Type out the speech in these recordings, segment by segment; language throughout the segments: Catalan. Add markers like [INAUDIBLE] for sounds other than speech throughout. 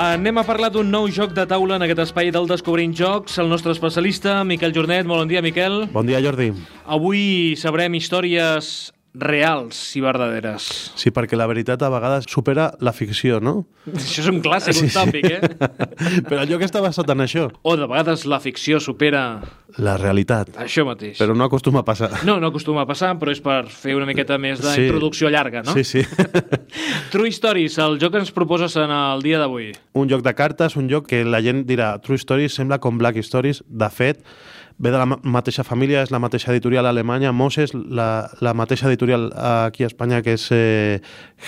Anem a parlar d'un nou joc de taula en aquest espai del Descobrint Jocs. El nostre especialista, Miquel Jornet. Molt bon dia, Miquel. Bon dia, Jordi. Avui sabrem històries reals i verdaderes. Sí, perquè la veritat a vegades supera la ficció, no? [LAUGHS] Això és un clàssic, un tòpic, eh? Però el joc està basat en això, O de vegades la ficció supera la realitat. això mateix. Però no acostuma a passar. No, no acostuma a passar, però és per fer una miqueta més d'introducció llarga, no? Sí, sí. [LAUGHS] True Stories, el joc que ens proposes en el dia d'avui. un joc de cartes, un joc que la gent dirà True Stories sembla com Black Stories. De fet, ve de la ma- mateixa família, és la mateixa editorial alemanya, Moses, la, la mateixa editorial aquí a Espanya que és eh,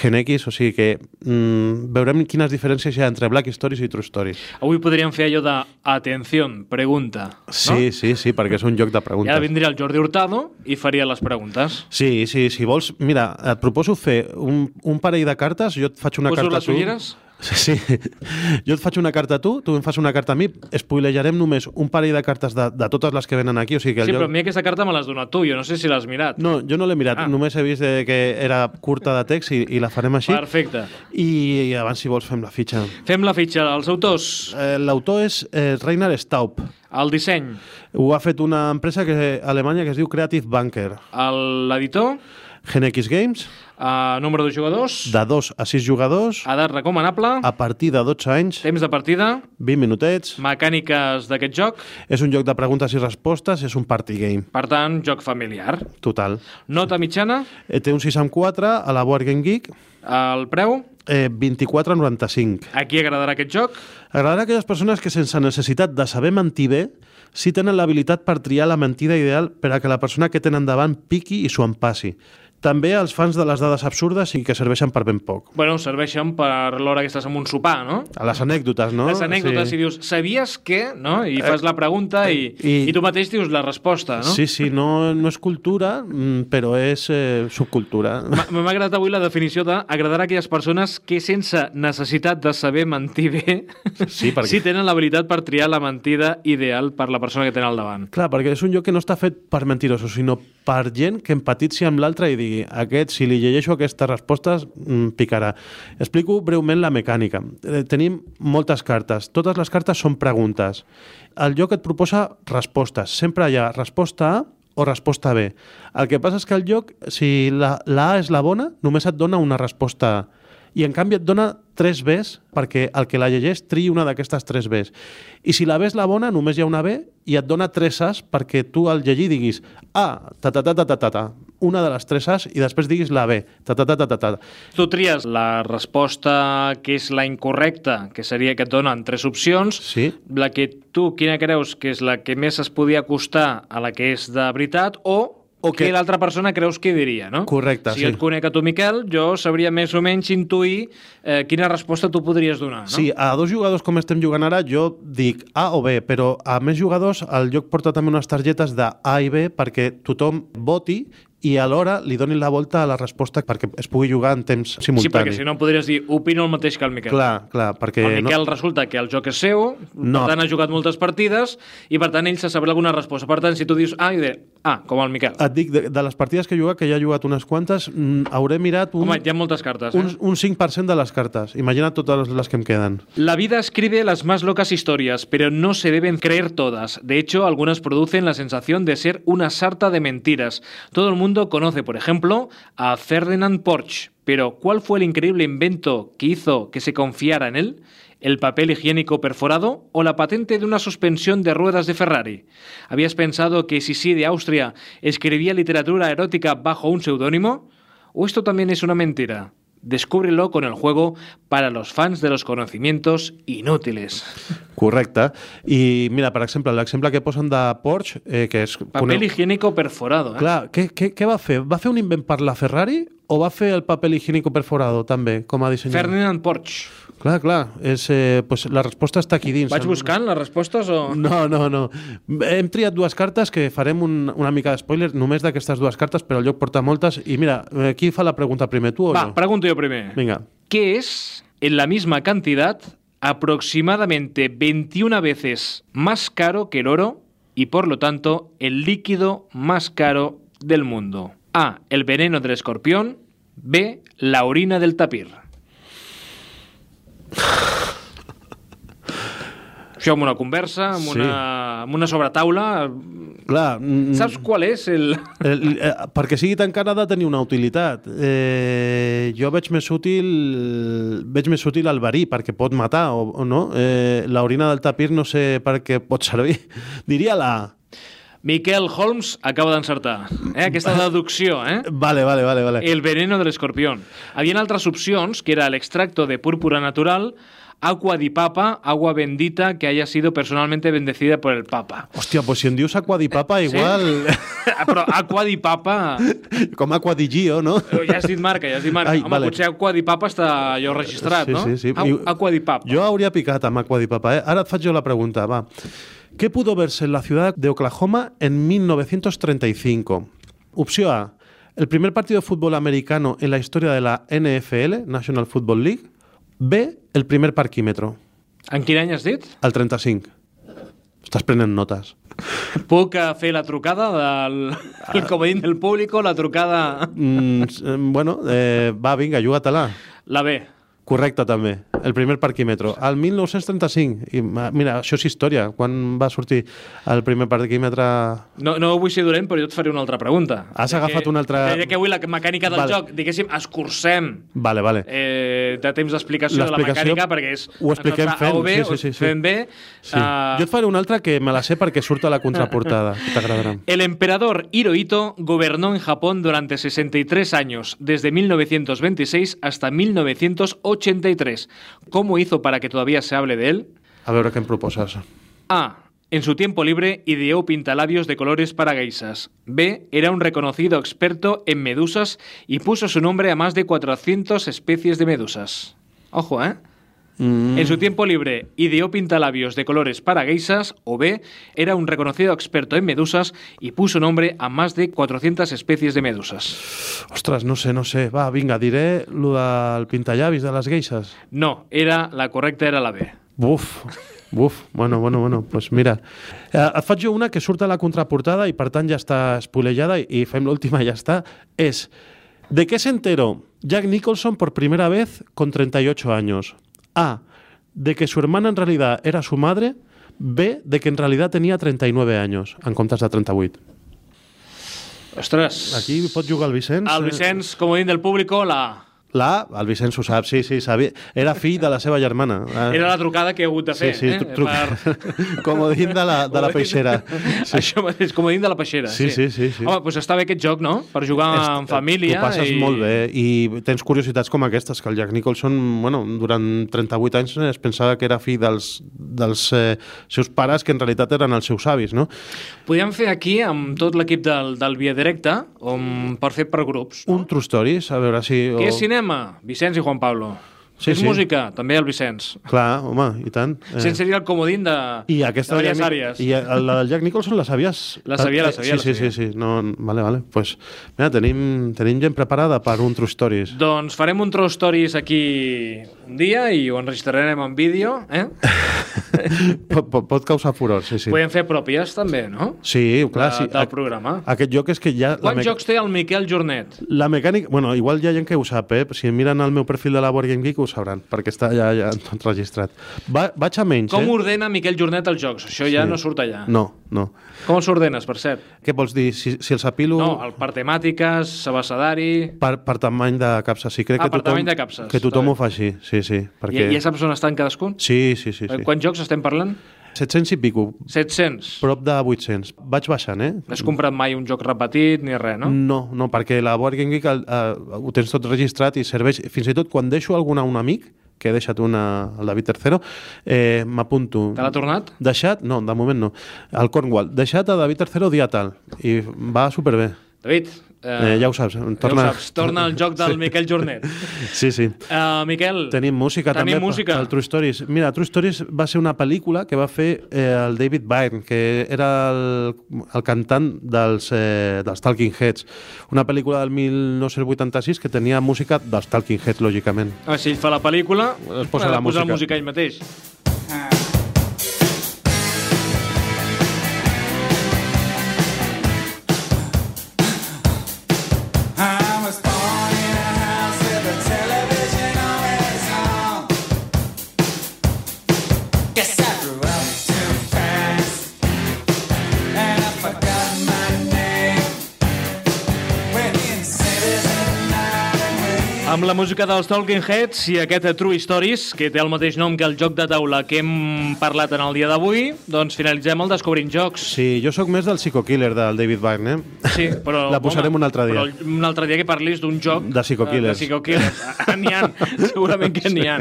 Genex, o sigui que mm, veurem quines diferències hi ha entre Black Stories i True Stories. Avui podríem fer allò de atención, pregunta, no? Sí, sí, sí, perquè és un joc de I preguntes. ara vindria el Jordi Hurtado i faria les preguntes. Sí, sí, si vols, mira, et proposo fer un, un parell de cartes, jo et faig una Poso carta les a tu. ulleres? Sí, jo et faig una carta a tu, tu em fas una carta a mi, spoilejarem només un parell de cartes de, de totes les que venen aquí, o sigui que Sí, el però a joc... mi aquesta carta me l'has donat tu, jo no sé si l'has mirat. No, jo no l'he mirat, Ah. ah. només he vist eh, que era curta de text i, i la farem així. Perfecte. I, I abans, si vols, fem la fitxa. Fem la fitxa dels autors. Eh, L'autor és eh, Reiner Staub. El disseny, Ho ha fet una empresa que, alemanya que es diu Creative Banker. el- l'editor, GeneX Games, eh, número de jugadors, de 2 a 6 jugadors, edat recomanable, a partir de 12 anys, temps de partida, 20 minutets. mecàniques d'aquest joc, És un joc de preguntes i respostes, és un party game, per tant, joc familiar. total. Nota mitjana, Eh, Té un 6 amb 4 a la Board Game Geek, el preu, eh, 24,95. a qui agradarà aquest joc, Agradarà a aquelles persones que sense necessitat de saber mentir bé sí tenen l'habilitat per triar la mentida ideal per a que la persona que tenen davant piqui i s'ho empassi. També als fans de les dades absurdes i que serveixen per ben poc. bueno, serveixen per l'hora que estàs amb un sopar, no? A les anècdotes, no? les anècdotes sí. i dius, sabies què? No? I fas la pregunta i, i... Eh, i- i tu mateix dius la resposta, no? Sí, sí, no, no és cultura, mm, però és eh, subcultura. M'ha m'ha agradat avui la definició d'agradar a aquelles persones que sense necessitat de saber mentir bé Sí, perquè- sí tenen l'habilitat per triar la mentida ideal per la persona que tenen al davant. Clar, perquè és un joc que no està fet per mentirosos, sinó per gent que empatitzi amb l'altre i digui aquest, si li llegeixo aquestes respostes, mm, picarà. Explico breument la mecànica. Eh, Tenim moltes cartes. Totes les cartes són preguntes. El joc et proposa respostes. Sempre hi ha resposta A o resposta B. El que passa és que el joc, si la, la A és la bona, només et dona una resposta A. I en canvi et dona tres Bs perquè el que la llegeix triï una d'aquestes tres Bs. I si la B és la bona, només hi ha una B i et dona tres As perquè tu al llegir diguis A, ta ta ta ta ta ta, ta una de les tres As i després diguis la B, ta ta ta ta ta ta. Tu tries la resposta que és la incorrecta, que seria que et donen tres opcions, Sí. la que tu quina creus que és la que més es podia acostar a la que és de veritat o O que, que- que l'altra persona creus que diria, no? Correcte, Si jo sí. et conec a tu, Miquel, jo sabria més o menys intuir eh, quina resposta tu podries donar, no? Sí, a dos jugadors com estem jugant ara, jo dic A o B, però a més jugadors el joc porta també unes targetes de A i B perquè tothom voti i alhora li donin la volta a la resposta perquè es pugui jugar en temps Sí, simultani. perquè si no podries dir, opino el mateix que el Miquel. Clar, clar, perquè... el Miquel resulta que el joc és seu, No. per tant ha jugat moltes partides i per tant ell se sabrà alguna resposta. Per tant, si tu dius, ah, jo diré, ah, com el Miquel. Et dic, de, de les partides que he jugat, que ja he jugat unes quantes, mm, hauré mirat un, Home, hi ha moltes cartes, eh? un, un 5% de les cartes. Imagina't totes les que em queden. La vida escribe las más locas historias, pero no se deben creer todas. De hecho, algunas producen la sensación de ser una sarta de mentiras. Todo el mundo conoce, por ejemplo, a Ferdinand Porsche, pero ¿cuál fue el increíble invento que hizo que se confiara en él? ¿El papel higiénico perforado o la patente de una suspensión de ruedas de Ferrari? ¿Habías pensado que Sisi de Austria escribía literatura erótica bajo un seudónimo? ¿O esto también es una mentira? Descúbrelo con el juego para los fans de los conocimientos inútiles. Correcte. I mira, per exemple, l'exemple que posen de Porsche, eh, que és... Papel higiénico perforado. ¿eh? Clar, què, què, què va fer? Va fer un invent per la Ferrari o va fer el paper higiénico perforado, també, com a dissenyador? Ferdinand Porsche. Clar, clar. És, eh, pues, la resposta està aquí dins. ¿Vaig buscant les respostes o...? No, no, no. Hem triat dues cartes que farem un, una mica d'espoiler només d'aquestes dues cartes, però el lloc porta moltes. I mira, eh, qui fa la pregunta primer, tu o Va, jo? pregunto yo primero. Vinga. ¿Qué es, en la misma cantidad, aproximadamente 21 veces más caro que el oro y, por lo tanto, el líquido más caro del mundo? A. El veneno del escorpión. B. La orina del tapir. Això amb una conversa, amb, Sí. una, amb una sobretaula... Clar, mm, Saps qual és el... El, eh, perquè sigui tan cara ha de tenir una utilitat. Eh, jo veig més útil veig més útil el verí perquè pot matar o, o no. Eh, la orina del tapir no sé per què pot servir. [LAUGHS] Diria la A. Miquel Holmes acaba d'encertar. Eh? Mm. Aquesta deducció, eh? Vale, vale, vale, vale. [LAUGHS] El veneno de l'escorpió. Havien altres opcions, que era l'extracto de púrpura natural, agua di papa, agua bendita que haya sido personalmente bendecida por el papa. Ah, Hòstia, pues si en dius aquadipapa, [LAUGHS] igual... Però aqua di papa... Com aquadigio, no? Però ja has dit marca, ja has dit marca. Ai, Home, vale. potser aqua di papa està allò registrat, sí, no? Sí, sí. Au- Aqua di papa. Jo hauria picat amb aquadipapa, eh? Ara et faig jo la pregunta, va. ¿Qué pudo verse en la ciudad de Oklahoma en 1935? Opció A. El primer partido de fútbol americano en la historia de la NFL, National Football League. B. El primer parquímetro, En quin any has dit? al 35. Estàs prenent notes. Puc eh, fer la trucada del Ah. el comodín del públic, la trucada... Mm, s- eh, bueno, eh, va, vinga, juga-te-la. La B. Correcte, també. El primer parquímetro. Al 1935. I, ma- mira, això és història. Quan va sortir el primer parquímetre... No, no vull ser dolent, però jo et faré una altra pregunta. Has Ja agafat que- una altra- Ja que avui la mecànica del Vale. joc, diguéssim, escurcem Vale, vale. eh, de temps d'explicació de la L'explicació mecànica, perquè és... ho expliquem ens està A o fent, B, sí, sí, sí, sí. fent bé. Sí. Ah, Jo et faré una altra que me la sé perquè surt a la contraportada. que T'agradarà. El emperador Hirohito gobernó en Japón durante 63 años, desde 1926 hasta 1983. ¿Cómo hizo para que todavía se hable de él? A veure què em proposes. A. En su tiempo libre ideó pintalabios de colores para geisas. B. Era un reconocido experto en medusas y puso su nombre a más de 400 especies de medusas. Ojo, ¿eh? Mm, En su tiempo libre, ideó pintalabios de colores para geisas, o B, era un reconocido experto en medusas y puso nombre a más de 400 especies de medusas. ostres, no sé, no sé. Va, vinga, diré lo del pintallavis de les geixes. No, era la correcta era la B. Buf, buf. Bueno, bueno, bueno. Pues mira. Eh, et faig jo una que surt a la contraportada i per tant ja està espolejada i, i fem l'última i ja està. És ¿De qué se enteró Jack Nicholson por primera vez con 38 años? A. De que su hermana en realidad era su madre. B. De que en realidad tenía 39 años, en comptes de 38. Ostres. Aquí pot jugar el Vicenç. Al eh? Vicenç, como dicen del público, la... La A, el Vicenç ho sap, sí, sí, sabia. Era fill de la seva germana. Eh, era la trucada que he hagut de Sí, fer. sí, eh? tru- truca. [LAUGHS] Comodín de la, Ah, de la peixera. Sí. Això mateix, com dins de la peixera. Sí, sí, sí, sí. Home, doncs està bé aquest joc, no? Per jugar en família. T'ho passes i- molt bé i tens curiositats com aquestes, que el Jack Nicholson, bueno, durant 38 anys es pensava que era fill dels, dels eh, seus pares, que en realitat eren els seus avis, no? Podríem fer aquí, amb tot l'equip del, del Via Directa, on, per fer per grups. Un true stories, a veure si... Què és cinema? Vicenç i Juan Pablo. Sí, és sí. música? També el Vicenç. Clar, home, i tant. Eh, Eh. Sense seria el comodín de, I aquesta de del diverses Jack Ni- àrees. I el- la del Jack Nicholson la sabies? La sabia, la Eh, sabia, la Sí, sí, sabia. sí, sí. No, vale, vale. Pues, mira, tenim, tenim gent preparada per un True [LAUGHS] Stories. Doncs farem un True Stories aquí un dia i ho enregistrarem en vídeo. Eh? pot, pot- pot causar furor, sí, sí. Podem fer pròpies també, no? Sí, clar, De- sí. Del programa. Aquest joc és que ja... la Quants meca- jocs té el Miquel Jornet? La mecànica... Bueno, igual hi ha gent que ho sap, eh? Si miren el meu perfil de la Board Game Geek ho sabran, perquè està ja, ja tot registrat. Va, vaig a menys, Com eh? ordena Miquel Jornet els jocs? Això ja no surt allà. No, no. Com els ordenes, per cert? Què vols dir? Si, si els apilo... No, el per temàtiques, abecedari... Per, per tamany de capses, sí. Crec Ah, que per tothom, tamany de capses, que tothom està ho fa així, sí, sí. Perquè... Perquè... I ja saps on estan cadascun? Eh, Sí, sí, sí. sí. Quants jocs estem parlant? 700 i pico, 700. prop de 800. Vaig baixant, eh? No has comprat mai un joc repetit ni res, no? No, no, perquè la Board Game Geek el, eh, ho tens tot registrat i serveix... Fins i tot quan deixo alguna a un amic, que he deixat una al David Tercero, eh, m'apunto. Te l'ha tornat? Deixat, no, de moment no, al Cornwall. Deixat a David III dia tal. I va superbé. David, Eh, ja ho saps. torna... Torna... Ja ho saps, torna al joc del Miquel Jornet. Sí, sí. Uh, Miquel, Tenim música Tenim també per- música. pel True Stories. Mira, True Stories va ser una pel·lícula que va fer eh, el David Byrne, que era el, el cantant dels, eh, dels Talking Heads. Una pel·lícula del 1986 que tenia música dels Talking Heads, lògicament. Ah, si ell fa la pel·lícula, Es ha posa de la posar música. música ell mateix. I was born in a house with the television always on. Guess I grew up Amb la música dels Talking Heads i aquest True Stories, que té el mateix nom que el joc de taula que hem parlat en el dia d'avui, doncs finalitzem el Descobrint Jocs. Sí, jo sóc més del psicokiller del David Wagner. Sí, però... La posarem un altre dia. Però un altre dia que parlis d'un joc... De eh, psicokillers. De psicokillers. [LAUGHS] N'hi ha, segurament que n'hi ha.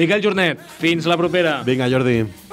Miquel Jornet, fins la propera. Vinga, Jordi.